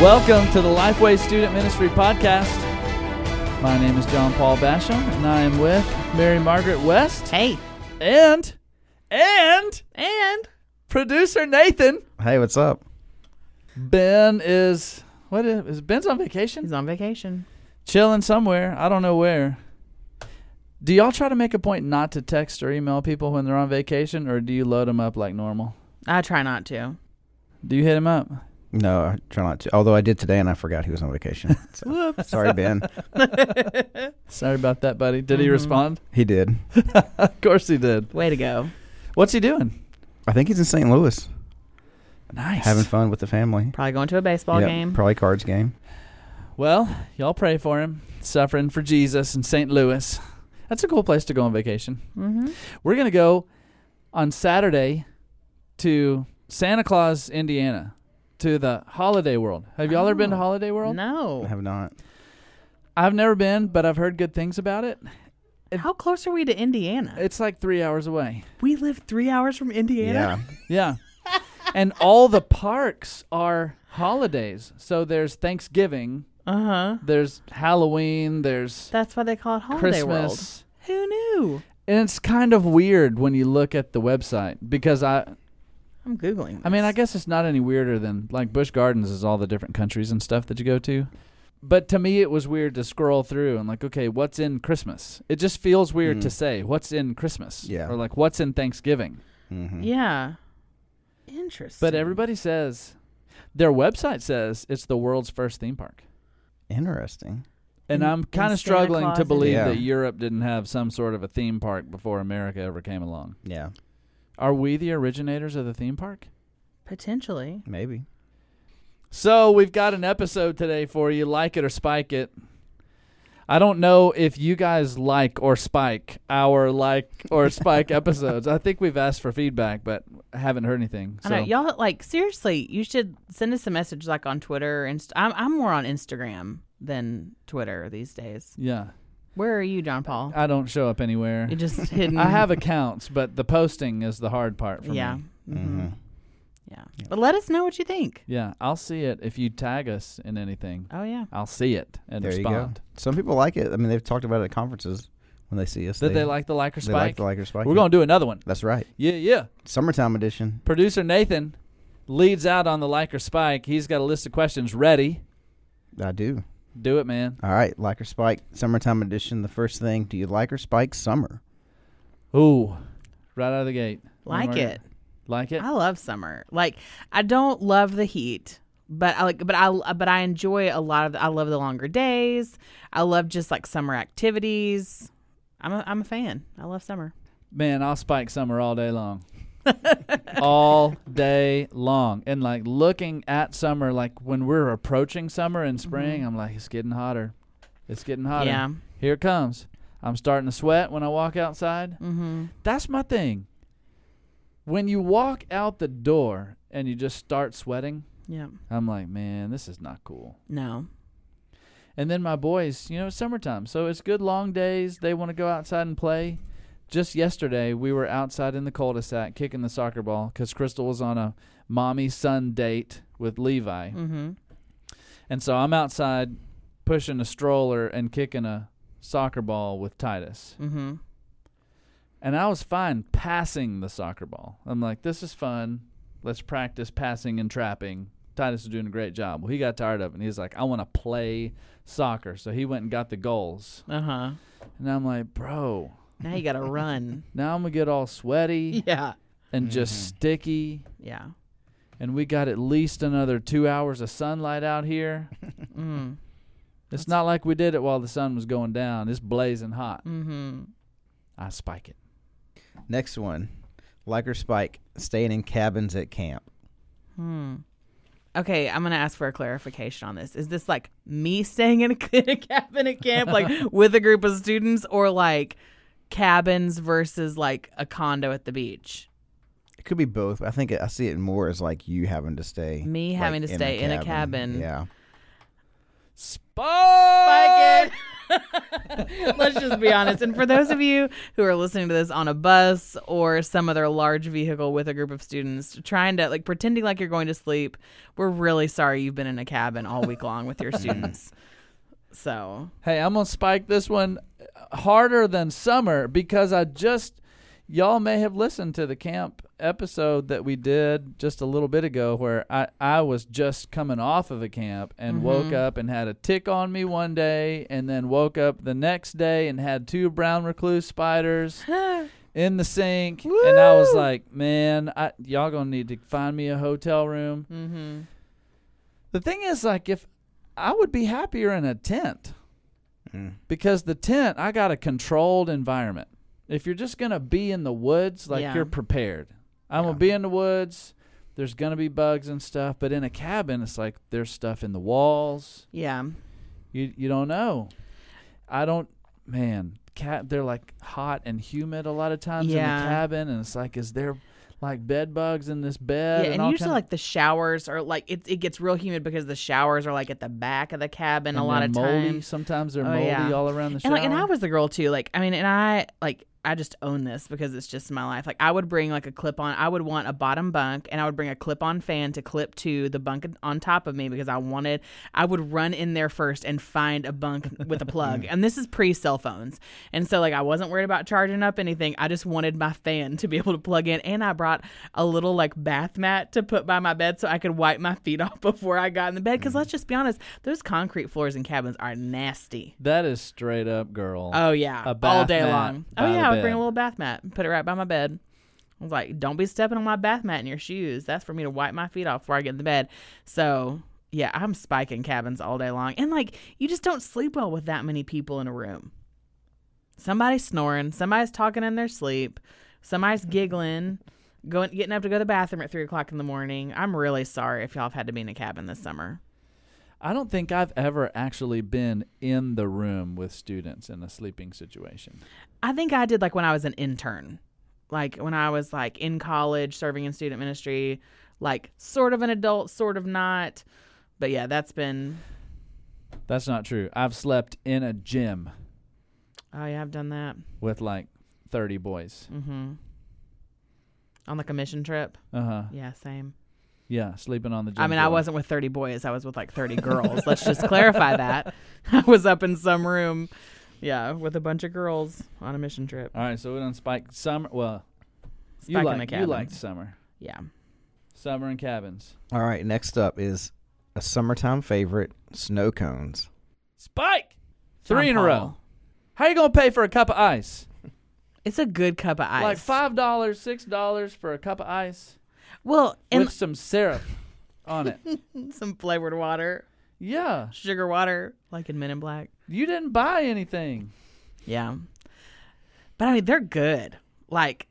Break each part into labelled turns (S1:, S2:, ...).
S1: Welcome to the Lifeway Student Ministry Podcast. My name is John Paul Basham, and I am with Mary Margaret West
S2: Hey.
S1: and and
S2: And
S1: producer Nathan.
S3: Hey, what's up?
S1: Ben is what is, is Ben's on
S2: he's
S1: vacation,
S2: on vacation.
S1: chilling somewhere. I don't know where. Do y'all try to make a point not to text or email people when they're on vacation, or do you load them up like normal?
S2: I try not to.
S1: Do you hit them up?
S3: No, I try not to. Although I did today, and I forgot he was on vacation. So, Sorry, Ben.
S1: Sorry about that, buddy. Did he
S2: Mhm.
S1: respond?
S3: He did.
S1: of course he did.
S2: Way to go.
S1: What's he doing?
S3: I think he's in St. Louis,
S1: Nice.
S3: having fun with the family.
S2: Probably going to a baseball
S3: Yeah,
S2: game.
S3: probably cards game.
S1: Well, y'all pray for him, suffering for Jesus in St. Louis. That's a cool place to go on vacation.
S2: hmm
S1: We're going to go on Saturday to Santa Claus, Indiana, to the Holiday World. Have y'all ever been to
S2: Oh.
S1: Holiday World?
S3: I
S2: No.
S3: have not.
S1: I've never been, but I've heard good things about it.
S2: How close are we to Indiana?
S1: It's like three hours away.
S2: we live three hours from Indiana.
S1: Yeah. and all the parks are holidays. So there's Thanksgiving,
S2: Uh huh.
S1: there's Halloween, there's
S2: That's why they call it Holiday
S1: Christmas.
S2: World. Who knew?
S1: And it's kind of weird when you look at the website because I
S2: I'm googling. This.
S1: I mean, I guess it's not any weirder than like Bush Gardens is all the different countries and stuff that you go to. But to me it was weird to scroll through and like, okay, what's in Christmas? It just feels weird
S3: Mm.
S1: to say what's in Christmas
S3: Yeah.
S1: or like what's in Thanksgiving.
S3: Yeah. hmm
S2: Yeah. Interesting.
S1: But everybody says their website says it's the world's first theme park.
S3: Interesting.
S1: And
S2: In-
S1: I'm
S2: in
S1: kind
S2: Santa
S1: of struggling
S2: Claus
S1: to
S2: and-
S1: believe
S3: Yeah.
S1: that Europe didn't have some sort of a theme park before America ever came along.
S3: Yeah,
S1: Are we the originators of the theme park?
S2: potentially.
S3: maybe.
S1: So we've got an episode today for you. Like it or spike it. I don't know if you guys like or spike our like or spike episodes. I think we've asked for feedback, but haven't heard anything. So
S2: I know y'all like seriously. You should send us a message like on Twitter. And I'm I'm more on Instagram than Twitter these days.
S1: yeah,
S2: Where are you, John Paul?
S1: I don't show up anywhere.
S2: you just hidden.
S1: Uh, I have accounts, but the posting is the hard part for
S2: yeah.
S1: me.
S2: hmm
S3: Mhm.
S2: Yeah. But let us know what you think.
S1: Yeah, I'll see it if you tag us in anything.
S2: Oh yeah.
S1: I'll see it and
S3: There you go.
S1: respond.
S3: Some people like it. I mean, they've talked about it at conferences when they see us.
S1: Did they like the like or
S3: They like
S1: spike?
S3: the like or spike.
S1: We're going to do another one.
S3: That's right.
S1: Yeah, yeah.
S3: Summertime edition.
S1: Producer Nathan leads out on the like or spike. He's got a list of questions ready.
S3: I do.
S1: Do it, man.
S3: All right, like or spike. Summertime edition. The first thing. Do you like or spike summer?
S1: Ooh, right out of the gate.
S2: Like
S1: Margaret,
S2: it.
S1: Like it.
S2: I love summer. Like I don't love the heat, but I like but I but I enjoy a lot of I love the longer days. I love just like summer activities. I'm a, I'm a fan. I love summer.
S1: man, I'll spike summer all day long. all day long. And like looking at summer, like when we're approaching summer and spring, I'm like, it's getting hotter. It's getting hotter.
S2: Mm-hmm. Yeah.
S1: Here it comes. I'm starting to sweat when I walk outside.
S2: Mm-hmm.
S1: That's my thing. When you walk out the door and you just start sweating,
S2: Yeah.
S1: I'm like, man, this is not cool.
S2: No.
S1: And then my boys, you know, it's summertime. So it's good long days. They want to go outside and play. Just yesterday, we were outside in the cul de sac kicking the soccer ball because Crystal was on a mommy son date with Levi.
S2: Mm-hmm.
S1: And so I'm outside pushing a stroller and kicking a soccer ball with Titus.
S2: Mm-hmm.
S1: And I was fine passing the soccer ball. I'm like, this is fun. Let's practice passing and trapping. Titus is doing a great job. Well, he got tired of it and he's like, I want to play soccer. So he went and got the goals.
S2: Uh huh.
S1: And I'm like, bro,
S2: Now you got to run.
S1: now I'm going to get all sweaty
S2: yeah.
S1: and
S2: Mm-hmm.
S1: just sticky.
S2: Yeah.
S1: And we got at least another two hours of sunlight out here.
S2: Mm.
S1: It's not like we did it while the sun was going down. It's blazing hot.
S2: Mm-hmm.
S1: I spike it.
S3: Next one. Like or spike staying in cabins at camp.
S2: Hmm. Okay, I'm gonna ask for a clarification on this. Is this like me staying in a, in a cabin at camp, like with a group of students, or like cabins versus like a condo at the beach?
S3: It could be both. But I think I see it more as like you having to stay.
S2: Me
S3: like,
S2: having to stay in a cabin.
S3: Yeah.
S1: Spike,
S2: Like it. Let's just be honest. And for those of you who are listening to this on a bus or some other large vehicle with a group of students, trying to like pretending like you're going to sleep, we're really sorry you've been in a cabin all week long with your students. So
S1: Hey, I'm gonna spike this one harder than summer because I just y'all may have listened to the camp episode that we did just a little bit ago where I, I was just coming off of a camp and woke up and had a tick on me one day and then woke up the next day and had two brown recluse spiders
S2: mm-hmm.
S1: in the sink and I was
S2: Woo!
S1: like, Man, I y'all gonna need to find me a hotel room.
S2: Mm-hmm.
S1: The thing is like if I would be happier in a tent
S3: Mm.
S1: because the tent i got a controlled environment if you're just gonna be in the woods like
S2: Yeah.
S1: you're prepared i'm
S3: Yeah.
S1: gonna be in the woods there's gonna be bugs and stuff but in a cabin it's like there's stuff in the walls
S2: Yeah.
S1: you you don't know i don't man cat they're like hot and humid a lot of times in
S2: Yeah.
S1: the cabin and it's like is there like bed bugs in this
S2: Yeah,
S1: bed
S2: and,
S1: all
S2: usually
S1: kind of-
S2: like the showers are like it, it gets real humid because the showers are like at the back of the cabin a
S1: and
S2: lot
S1: they're
S2: of
S1: moldy
S2: times.
S1: sometimes they're
S2: Oh,
S1: moldy
S2: yeah.
S1: all around the
S2: And like and I
S1: shower.
S2: was the girl too. Like I mean and I like I just own this because it's just my life. Like I would bring like a clip on I would want a bottom bunk and I would bring a clip on fan to clip to the bunk on top of me because I wanted I would run in there first and find a bunk with a plug. and this is pre cell phones. And so like I wasn't worried about charging up anything. I just wanted my fan to be able to plug in and I brought a little like bath mat to put by my bed so I could wipe my feet off before I got in the bed cuz let's just be honest, those concrete floors in cabins are nasty.
S1: that is straight up girl
S2: Oh yeah,
S1: a
S2: all
S1: bath
S2: day
S1: mat
S2: long.
S1: by
S2: Oh
S1: the
S2: yeah, I would bring
S1: bed.
S2: a little bath mat and put it right by my bed. I was like, "Don't be stepping on my bath mat in your shoes. That's for me to wipe my feet off before I get in the bed." So yeah, I'm spiking cabins all day long, and like you just don't sleep well with that many people in a room. Somebody's snoring, somebody's talking in their sleep, somebody's giggling, going getting up to go to the bathroom at three o'clock in the morning. I'm really sorry if y'all have had to be in a cabin this summer.
S1: I don't think I've ever actually been in the room with students in a sleeping situation.
S2: I think I did like when I was an intern, like when I was like in college serving in student ministry, like sort of an adult, sort of not. But yeah, that's been.
S1: That's not true. I've slept in a gym
S2: Oh yeah, I've done that.
S1: with like 30 boys.
S2: Mm-hmm. On like a mission trip.
S1: Uh huh.
S2: Yeah, same.
S1: Yeah, sleeping on the gym.
S2: I mean, I
S1: floor.
S2: wasn't with thirty boys. I was with like thirty girls. Let's just clarify that. I was up in some room, yeah, with a bunch of girls on a mission trip.
S1: All right, so we don't spike summer. Well,
S2: Spike
S1: you
S2: in
S1: like
S2: the
S1: you
S2: cabins.
S1: liked summer,
S2: Yeah.
S1: summer and cabins.
S3: All right, next up is a summertime favorite, snow cones.
S1: Spike, three in a
S2: Paul.
S1: row. How you gonna pay for a cup of ice?
S2: It's a good cup of ice.
S1: Like five dollars, six dollars for a cup of ice
S2: Well, and
S1: with some syrup on it.
S2: some flavored water.
S1: Yeah,
S2: sugar water, like in Men in Black.
S1: you didn't buy anything.
S2: Yeah. But I mean, they're good. Like,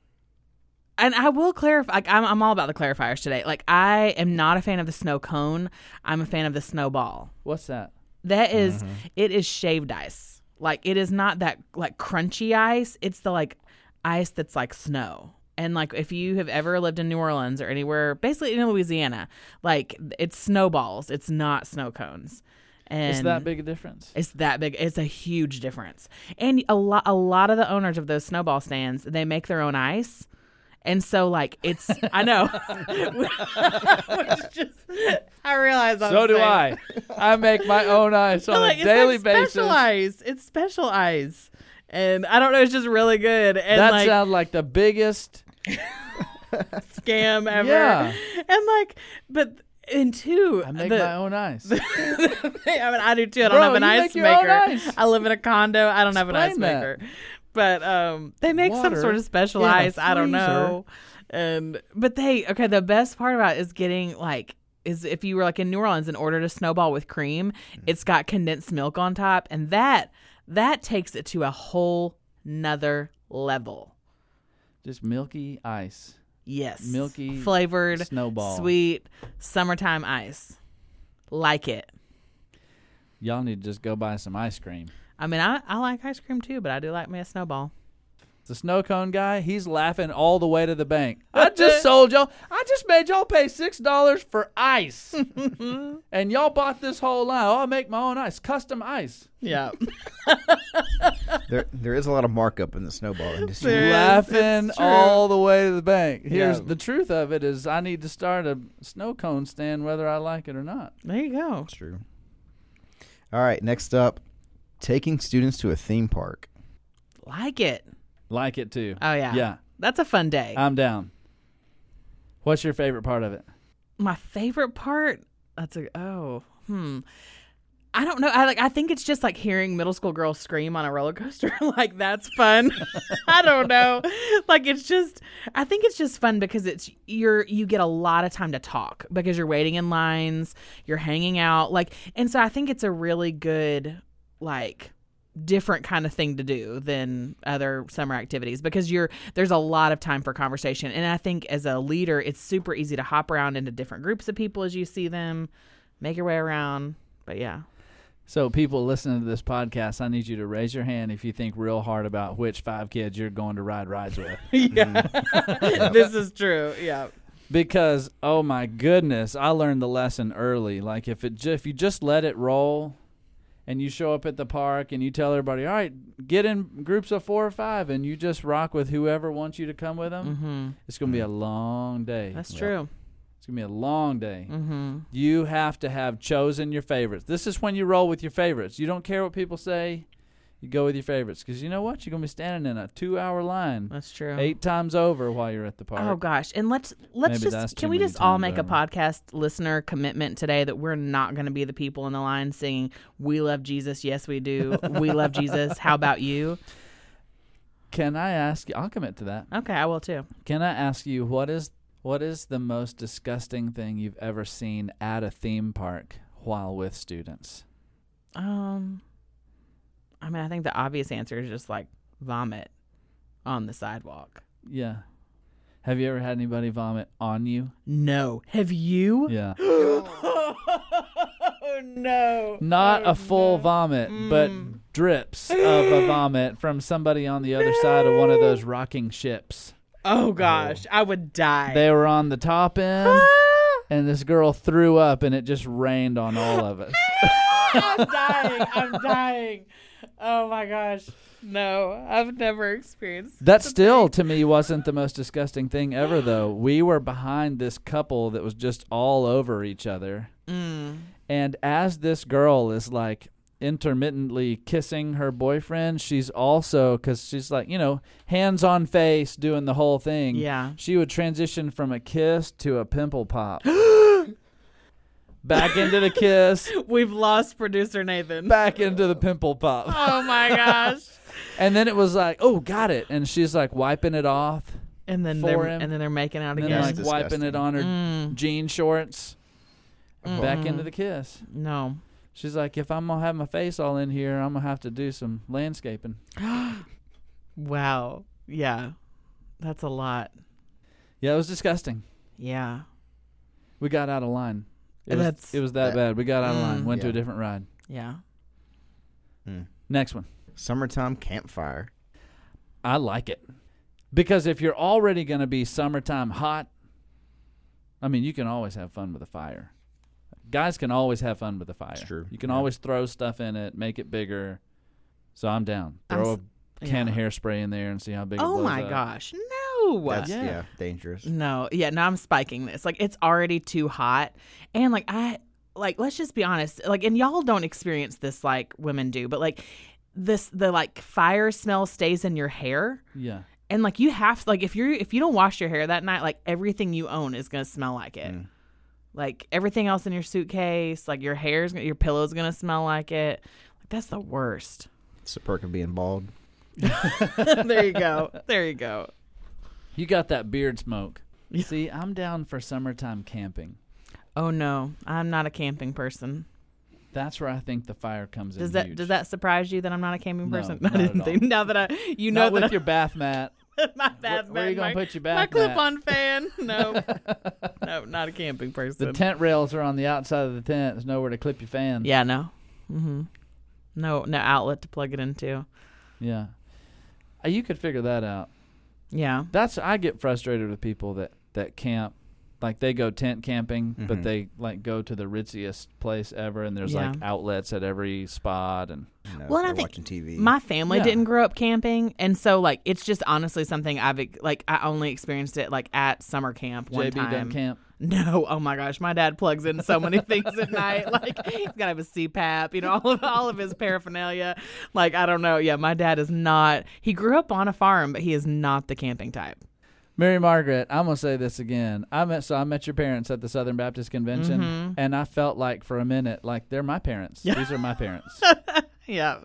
S2: and I will clarify. Like, I'm, I'm all about the clarifiers today. Like, I am not a fan of the snow cone. I'm a fan of the snowball.
S1: What's that?
S2: That is- it is shaved ice. Like, it is not that like crunchy ice. It's the like ice that's like snow. And like, if you have ever lived in New Orleans or anywhere, basically in Louisiana, like it's snowballs. It's not snow cones. And
S1: It's that big a difference.
S2: It's that big. It's a huge difference. And a lot, a lot of the owners of those snowball stands, they make their own ice. And so, like, it's, I know. Which just, I realize I'm
S1: So do
S2: saying-
S1: I. I make my own ice
S2: But,
S1: on
S2: like,
S1: a
S2: it's
S1: daily
S2: like
S1: basis.
S2: special ice. It's special ice. And I don't know. It's just really good. And
S1: that
S2: like,
S1: sounds like the biggest.
S2: scam ever.
S1: Yeah.
S2: And like, but, and two,
S1: I make
S2: the-
S1: my own ice.
S2: I mean, I do too. I don't
S1: Bro,
S2: have an
S1: you
S2: ice
S1: make your own
S2: maker.
S1: ice.
S2: I live in a condo. I don't have an
S1: Explain
S2: ice
S1: that.
S2: maker. But um, they make some
S1: Water
S2: sort of special
S1: in a
S2: ice. I don't know. And but they okay. The best part about it is getting like is if you were like in New Orleans and ordered a snowball with cream,
S1: Mm.
S2: it's got condensed milk on top, and that that takes it to a whole nother level.
S1: Just milky ice.
S2: Yes,
S1: Milky
S2: flavored
S1: snowball.
S2: sweet summertime ice. Like it.
S1: Y'all need to just go buy some ice cream.
S2: I mean, I, I like ice cream too, but I do like me a snowball.
S1: The snow cone guy, he's laughing all the way to the bank. I just sold y'all. I just made y'all pay six dollars for ice, and y'all bought this whole line. Oh, I make my own ice, custom ice.
S2: Yeah.
S3: there, there is a lot of markup in the snowball industry.
S2: There is.
S1: laughing
S2: It's true.
S1: all the way to the bank. Here's
S3: Yeah.
S1: the truth of it is I need to start a snow cone stand whether I like it or not.
S2: There you go.
S3: That's true. All right, next up, taking students to a theme park.
S2: Like it.
S1: Like it too.
S2: Oh yeah.
S1: yeah, Uh,
S2: That's a fun day.
S1: I'm down. What's your favorite part of it?
S2: my favorite part that's a oh hmm i don't know i like i think it's just like hearing middle school girls scream on a roller coaster like that's fun i don't know like it's just i think it's just fun because it's you're you get a lot of time to talk because you're waiting in lines you're hanging out like and so i think it's a really good like different kind of thing to do than other summer activities because you're there's a lot of time for conversation and i think as a leader it's super easy to hop around into different groups of people as you see them make your way around but yeah
S1: So, people listening to this podcast, I need you to raise your hand if you think real hard about which five kids you're going to ride rides with.
S2: yeah
S1: Mm-hmm.
S2: this is true yeah
S1: because oh my goodness, I learned the lesson early. Like if it ju- if you just let it roll, and you show up at the park and you tell everybody, all right, get in groups of four or five, and you just rock with whoever wants you to come with them.
S2: mm-hmm.
S1: It's gonna be a long day.
S2: that's true
S1: It's gonna be a long day.
S2: mm-hmm.
S1: You have to have chosen your favorites. This is when you roll with your favorites. You don't care what people say. You go with your favorites because you know what? You're gonna be standing in a two-hour line
S2: that's true
S1: eight times over while you're at the park.
S2: Oh gosh, and let's let's
S1: Maybe that's
S2: just
S1: too
S2: can we
S1: many
S2: just all
S1: times
S2: make a
S1: over.
S2: podcast listener commitment today that we're not going to be the people in the line singing "We love Jesus, yes we do, we love Jesus." How about you?
S1: Can I ask you? I'll commit to that.
S2: Okay, I will too.
S1: Can I ask you what is what is the most disgusting thing you've ever seen at a theme park while with students?
S2: Um, I mean, I think the obvious answer is just like vomit on the sidewalk.
S1: Yeah. Have you ever had anybody vomit on you?
S2: No, have you?
S1: Yeah.
S2: oh no!
S1: Not
S2: Oh,
S1: a full
S2: no.
S1: vomit, but drips of a vomit from somebody on the other side of one of those rocking ships.
S2: Oh gosh, I would die.
S1: They were on the top end and this girl threw up and it just rained on all of us.
S2: I'm dying. I'm dying. Oh my gosh. No, I've never experienced.
S1: That still to me wasn't the most disgusting thing ever though. We were behind this couple that was just all over each other.
S2: Mm.
S1: And as this girl is like intermittently kissing her boyfriend, she's also cuz she's like, you know, hands on face doing the whole thing.
S2: Yeah.
S1: She would transition from a kiss to a pimple pop. back into the kiss,
S2: We've lost producer Nathan.
S1: back into the pimple pop.
S2: Oh my gosh.
S1: And then it was like, "Oh, got it." And she's like wiping it off.
S2: And then
S1: For
S2: they're
S1: him.
S2: and then they're making out
S1: And then
S2: again.
S1: like
S3: That's
S1: wiping it
S3: disgusting.
S1: on her
S2: Mm.
S1: jean shorts. Back
S3: Mm-hmm.
S1: into the kiss.
S2: no.
S1: She's like, if I'm gonna have my face all in here, I'm gonna have to do some landscaping.
S2: Wow. Yeah. That's a lot.
S1: Yeah, it was disgusting.
S2: Yeah.
S1: We got out of line. It was,
S2: That's-
S1: it was that, bad. We got out of line.
S2: Mm.
S1: Went to
S3: Yeah.
S1: a different ride.
S2: Yeah.
S1: Next one.
S3: Summertime campfire.
S1: I like it because if you're already gonna be summertime hot, I mean, you can always have fun with a fire. Guys can always have fun with a fire.
S3: true.
S1: You can
S3: Yeah.
S1: always throw stuff in it, make it bigger. So I'm down.
S2: I'm
S1: Throw
S2: s-
S1: a can
S2: yeah.
S1: of hairspray in there and see how big. it
S2: Oh
S1: blows
S2: my
S1: up.
S2: gosh. No.
S3: That's,
S1: Yeah.
S3: yeah. dangerous.
S2: No, yeah, no, I'm spiking this. Like it's already too hot. And like I like let's just be honest. Like and y'all don't experience this like women do, but like this the like fire smell stays in your hair.
S1: Yeah.
S2: And like you have like if you're if you don't wash your hair that night, like everything you own is gonna smell like it.
S3: Mm.
S2: Like everything else in your suitcase, like your hair's gonna your pillow's gonna smell like it. Like that's the worst.
S3: It's a perk of being bald.
S2: there you go. There you go.
S1: You got that beard smoke.
S2: Yeah.
S1: See, I'm down for summertime camping.
S2: Oh no, I'm not a camping person.
S1: That's where I think the fire comes in.
S2: Does that
S1: huge.
S2: does that surprise you that I'm not a camping
S1: No,
S2: person?
S1: not
S2: I
S1: at
S2: didn't
S1: all.
S2: think. Now that I, you know
S1: Not
S2: that
S1: with your bath mat.
S2: I, my bath
S1: where are you
S2: bag,
S1: gonna
S2: my,
S1: put your
S2: my
S1: bath mat?
S2: clip-on fan. No, no, not a camping
S1: The
S2: person.
S1: tent rails are on the outside of the tent. There's nowhere to clip your fan.
S2: yeah, no, mm-hmm. no, no outlet to plug it into.
S1: Yeah. Uh, You could figure that out.
S2: Yeah,
S1: That's I get frustrated with people that that camp like they go tent camping, but
S2: Mm-hmm.
S3: Mhm.
S1: they like go to the ritziest place ever, and there's like outlets at every spot, and
S3: You know,
S2: Well, and
S3: they're
S2: I think
S3: watching TV.
S2: My family
S1: Yeah.
S2: didn't grow up camping, and so like it's just honestly something I've ex- like I only experienced it like at summer camp one
S1: JB
S2: time.
S1: Dunn Camp.
S2: No, oh my gosh, my dad plugs in so many things at night. Like he's got to have a CPAP, you know, all of all of his paraphernalia. Like I don't know. Yeah, my dad is not. He grew up on a farm, but he is not the camping type.
S1: Mary Margaret, I'm gonna say this again. I met so I met your parents at the Southern Baptist Convention,
S2: Mm-hmm.
S1: and I felt like for a minute like they're my parents. These are my parents.
S2: Yeah,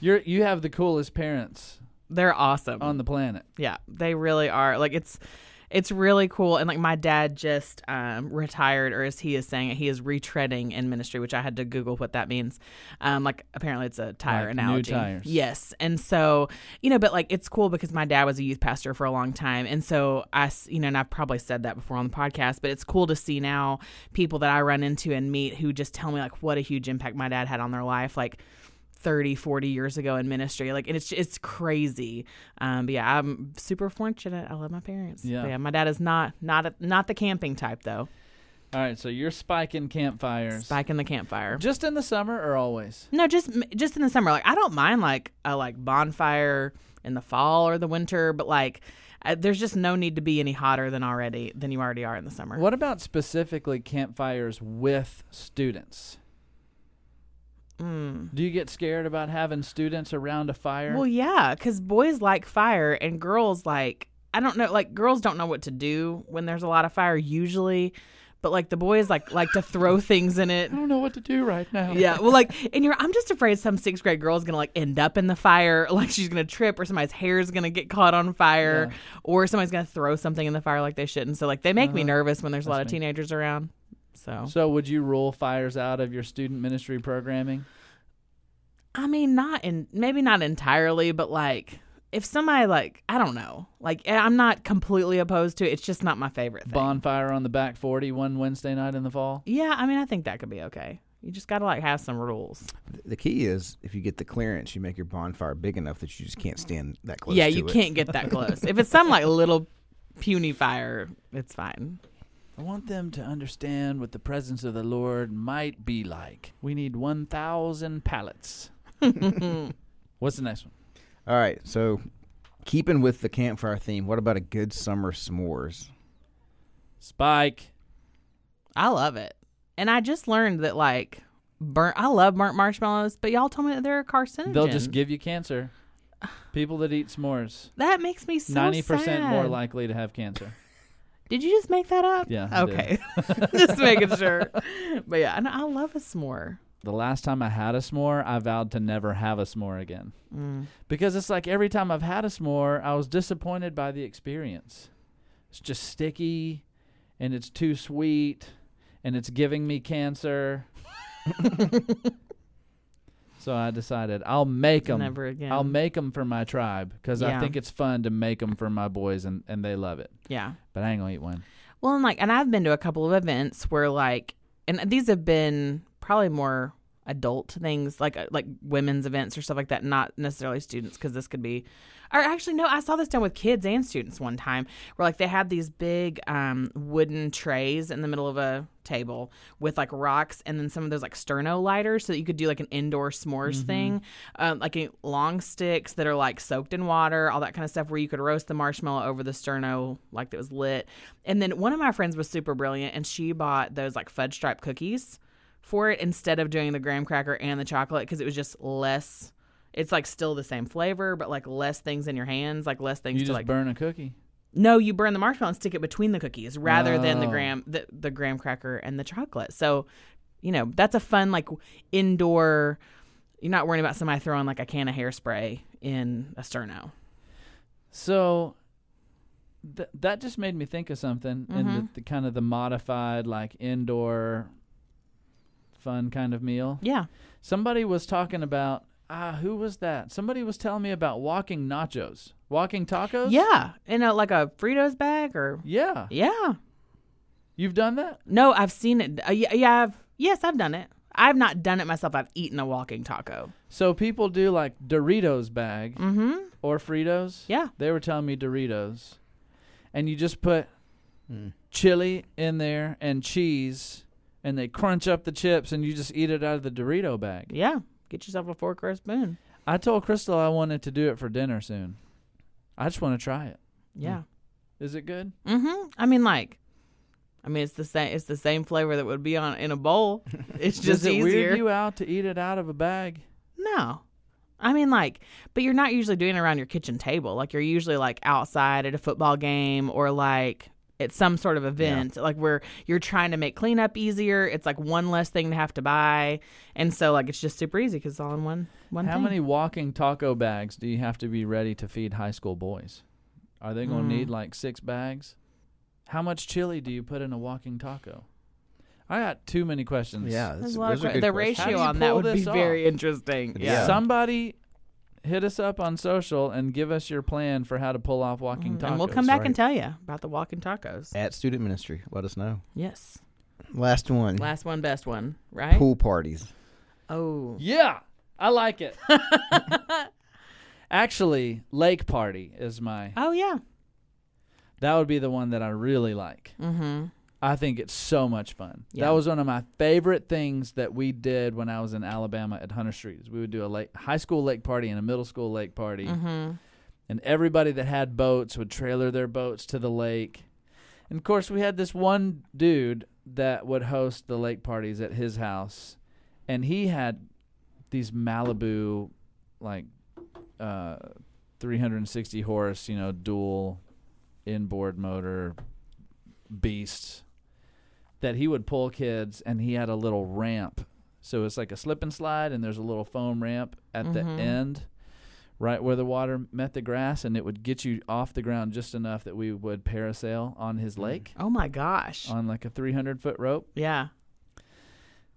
S1: You're you have the coolest parents
S2: they're awesome.
S1: on the planet.
S2: Yeah, they really are. Like it's it's really cool. And like my dad just um, retired, or as he is saying it, he is retreading in ministry, which I had to Google what that means. Um, like apparently it's a tire
S1: Like new
S2: analogy.
S1: tires.
S2: Yes, and so you know, but like it's cool because my dad was a youth pastor for a long time, and so I, s- you know, and I've probably said that before on the podcast, but it's cool to see now people that I run into and meet who just tell me like what a huge impact my dad had on their life, like. 30 40 years ago in ministry like and it's it's crazy um but yeah i'm super fortunate i love my parents
S1: Yeah.
S2: But yeah my dad is not not a, not the camping type though
S1: All right, so you're spiking campfires.
S2: back in the campfire
S1: Just in the summer or always?
S2: no just just in the summer like i don't mind like a like bonfire in the fall or the winter but like I, there's just no need to be any hotter than already than you already are in the summer
S1: What about specifically campfires with students?
S2: Mm.
S1: Do you get scared about having students around a fire?
S2: Well, yeah, because boys like fire and girls like I don't know, like girls don't know what to do when there's a lot of fire usually, but like the boys like like to throw things in it.
S1: I don't know what to do right now.
S2: Yeah, well, like, and you're, I'm just afraid some sixth grade girl's gonna like end up in the fire, like she's gonna trip, or somebody's hair's gonna get caught on fire,
S1: Yeah.
S2: or somebody's gonna throw something in the fire like they shouldn't. So like they make me
S1: Uh-huh.
S2: nervous when there's a lot of
S1: That's me.
S2: teenagers around. So
S1: So would you rule fires out of your student ministry programming?
S2: I mean, not in maybe not entirely, but like if somebody like I don't know, like eh, I'm not completely opposed to it. It's just not my favorite thing.
S1: Bonfire on the back 40 one Wednesday night in the fall?
S2: Yeah, I mean, I think that could be okay. You just gotta like have some rules.
S3: the key is if you get the clearance, you make your bonfire big enough that you just can't stand that close.
S2: yeah,
S3: to
S2: you
S3: it.
S2: can't get that close. if it's some like little puny fire, it's fine.
S1: I want them to understand what the presence of the Lord might be like. We need 1,000 pallets. What's the next one?
S3: All right, so keeping with the campfire theme, what about a good summer s'mores?
S1: Spike.
S2: I love it, and I just learned that like burnt. I love burnt marshmallows, but y'all told me that they're a carcinogen.
S1: They'll just give you cancer. People that eat s'mores,
S2: that makes me so
S1: 90% more
S2: sad.
S1: likely to have cancer.
S2: Did you just make that up?
S1: Yeah, I did.
S2: Okay. just making sure. But yeah, and I love a s'more.
S1: The last time I had a s'more, I vowed to never have a s'more again.
S2: Mm.
S1: Because it's like every time I've had a s'more, I was disappointed by the experience. It's just sticky and it's too sweet and it's giving me cancer. so I decided I'll make them.
S2: Never again.
S1: I'll make them for my tribe because I
S2: Yeah.
S1: think it's fun to make them for my boys and, and they love it.
S2: yeah.
S1: But I ain't going to eat one.
S2: Well, and like, and I've been to a couple of events where like, and these have been probably more adult things, like uh, like women's events or stuff like that, not necessarily students, because this could be, or actually no, I saw this done with kids and students one time, where like they had these big um, wooden trays in the middle of a table with like rocks and then some of those like sterno lighters so that you could do like an indoor s'mores thing um, like uh, long sticks that are like soaked in water all that kind of stuff where you could roast the marshmallow over the sterno like that was lit and then one of my friends was super brilliant and she bought those like fudge stripe cookies for it instead of doing the graham cracker and the chocolate because it was just less it's like still the same flavor but like less things in your hands like less things
S1: You
S2: to
S1: just
S2: like
S1: burn a cookie.
S2: no, you burn the marshmallow and stick it between the cookies rather than the
S1: Oh.
S2: graham the, the graham cracker and the chocolate. So, you know, that's a fun like indoor you're not worrying about somebody throwing like a can of hairspray in a sterno.
S1: So th- that just made me think of something in the, the kind of the modified like indoor fun kind of meal.
S2: Yeah.
S1: Somebody was talking about ah who was that? Somebody was telling me about walking nachos, walking tacos.
S2: Yeah. In a like a Fritos bag or
S1: yeah.
S2: Yeah.
S1: You've done that?
S2: No, I've seen it. Uh, yeah, yeah, I've yes, I've done it. I've not done it myself. I've eaten a walking taco.
S1: So people do like Doritos bag
S2: Mhm.
S1: or Fritos.
S2: Yeah. Hmm.
S1: They were telling me Doritos, and you just put chili in there and cheese, and they crunch up the chips, and you just eat it out of the Dorito bag.
S2: Yeah. Get yourself a fork or a spoon.
S1: I told Crystal I wanted to do it for dinner soon. I just want to try it.
S2: Yeah.
S1: Is it good?
S2: Mm-hmm. I mean, like, I mean, it's the same. It's the same flavor that would be on in a bowl. It's just
S1: Does it
S2: easier.
S1: weird you out to eat it out of a bag?
S2: no, I mean, like, but you're not usually doing it around your kitchen table. Like, you're usually like outside at a football game or like at some sort of event, like where you're trying to make cleanup easier. It's like one less thing to have to buy, and so like it's just super easy because it's all in one one
S1: How
S2: thing.
S1: many walking taco bags do you have to be ready to feed high school boys? Are they going
S2: Mm.
S1: to need like six bags? How much chili do you put in a walking taco? I got too many questions.
S3: Yeah,
S2: There's
S3: those-
S2: a lot of
S3: those are
S2: que-
S3: good
S2: the
S3: questions.
S1: How do
S2: ratio
S1: you
S2: on that
S1: pull
S2: would be
S1: this off?
S2: very interesting.
S3: Yeah.
S1: Somebody hit us up on social and give us your plan for how to pull off walking tacos.
S2: Mm, And we'll come back
S3: right.
S2: and tell you about the walking tacos.
S3: At student ministry, let us know.
S2: Yes.
S3: Last one.
S2: Last one, best one, right?
S3: Pool parties.
S2: Oh.
S1: Yeah, I like it. Actually, lake party is my.
S2: Oh, yeah.
S1: That would be the one that I really like.
S2: Mm-hmm.
S1: I think it's so much fun.
S2: Yeah.
S1: That was one of my favorite things that we did when I was in Alabama at Hunter Street. Is we would do a lake, high school lake party and a middle school lake party,
S2: Mm-hmm.
S1: and everybody that had boats would trailer their boats to the lake. And of course, we had this one dude that would host the lake parties at his house, and he had these Malibu, like, uh, 360 horse, you know, dual inboard motor beasts that he would pull kids, and he had a little ramp. So it's like a slip and slide, and there's a little foam ramp at
S2: Mhm.
S1: the end, right where the water met the grass, and it would get you off the ground just enough that we would parasail on his lake
S2: Oh, my gosh.
S1: on like a 300 foot rope.
S2: yeah,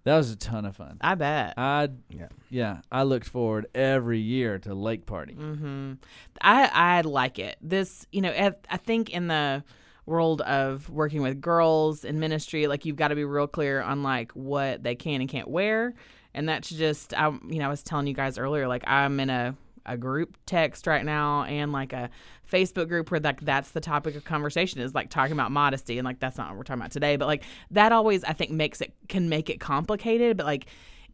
S1: That was a ton of fun.
S2: I bet.
S1: I
S3: Yeah.
S1: yeah, I looked forward every year to lake party.
S2: Mm-hmm. I I like it. This, you know, I I think in the world of working with girls in ministry, like you've got to be real clear on like what they can and can't wear, and that's just I, you know, I was telling you guys earlier, like I'm in a a group text right now and like a Facebook group where like that's the topic of conversation is like talking about modesty and like that's not what we're talking about today but like that always I think makes it can make it complicated but like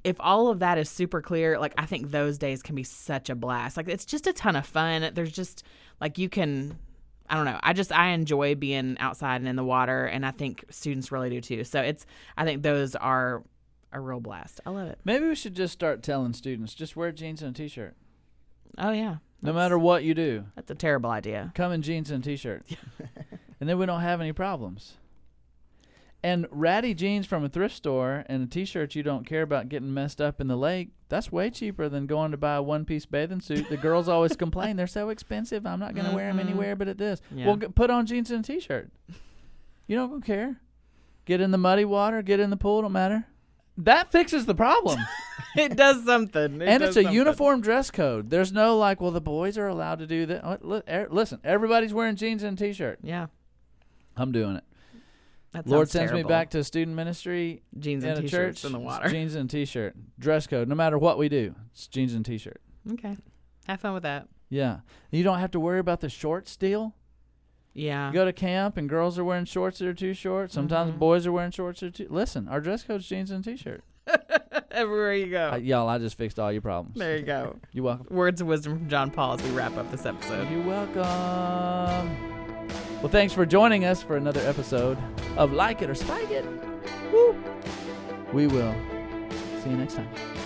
S2: if all of that is super clear, like I think those days can be such a blast. Like it's just a ton of fun. There's just like you can I don't know. I just I enjoy being outside and in the water and I think students really do too. So it's I think those are a real blast. I love it.
S1: Maybe we should just start telling students just wear jeans and a t-shirt.
S2: Oh yeah.
S1: No matter what you do,
S2: That's a terrible idea.
S1: come in jeans and a t-shirt. and then we don't have any problems. And ratty jeans from a thrift store and a t-shirt you don't care about getting messed up in the lake, that's way cheaper than going to buy a one-piece bathing suit. The girls always complain they're so expensive. I'm not going to 'em wear them
S2: Mhm.
S1: anywhere but at this.
S2: Yeah.
S1: Well, g- put on jeans and a t-shirt. You don't care. Get in the muddy water. Get in the pool. Don't matter. That fixes the problem.
S2: it does something. It
S1: and
S2: does
S1: it's a
S2: something.
S1: uniform dress code. There's no like, well, the boys are allowed to do that. Uh, li- er, Listen, everybody's wearing jeans and a t-shirt.
S2: Yeah.
S1: I'm doing it.
S2: That
S1: Lord
S2: sounds
S1: sends me
S2: terrible.
S1: back to student ministry
S2: jeans
S1: in
S2: and
S1: a
S2: t-shirts
S1: church.
S2: in the
S1: it's
S2: water.
S1: Jeans and a t-shirt. Dress code. No matter what we do, it's jeans and a t-shirt.
S2: Okay. Have fun with that.
S1: Yeah. You don't have to worry about the shorts deal.
S2: Yeah.
S1: You go to camp and girls are wearing shorts that are too short. Sometimes
S2: Mhm.
S1: boys are wearing shorts that are too. Listen, our dress code's jeans and a t-shirt.
S2: Everywhere you go.
S1: I, y'all, I just fixed all your problems.
S2: Oh. there you go.
S1: You're welcome.
S2: Words of wisdom from John Paul as we wrap up this episode.
S1: You're welcome. Well, thanks for joining us for another episode of Like It or Spike It. Woo. We will see you next time.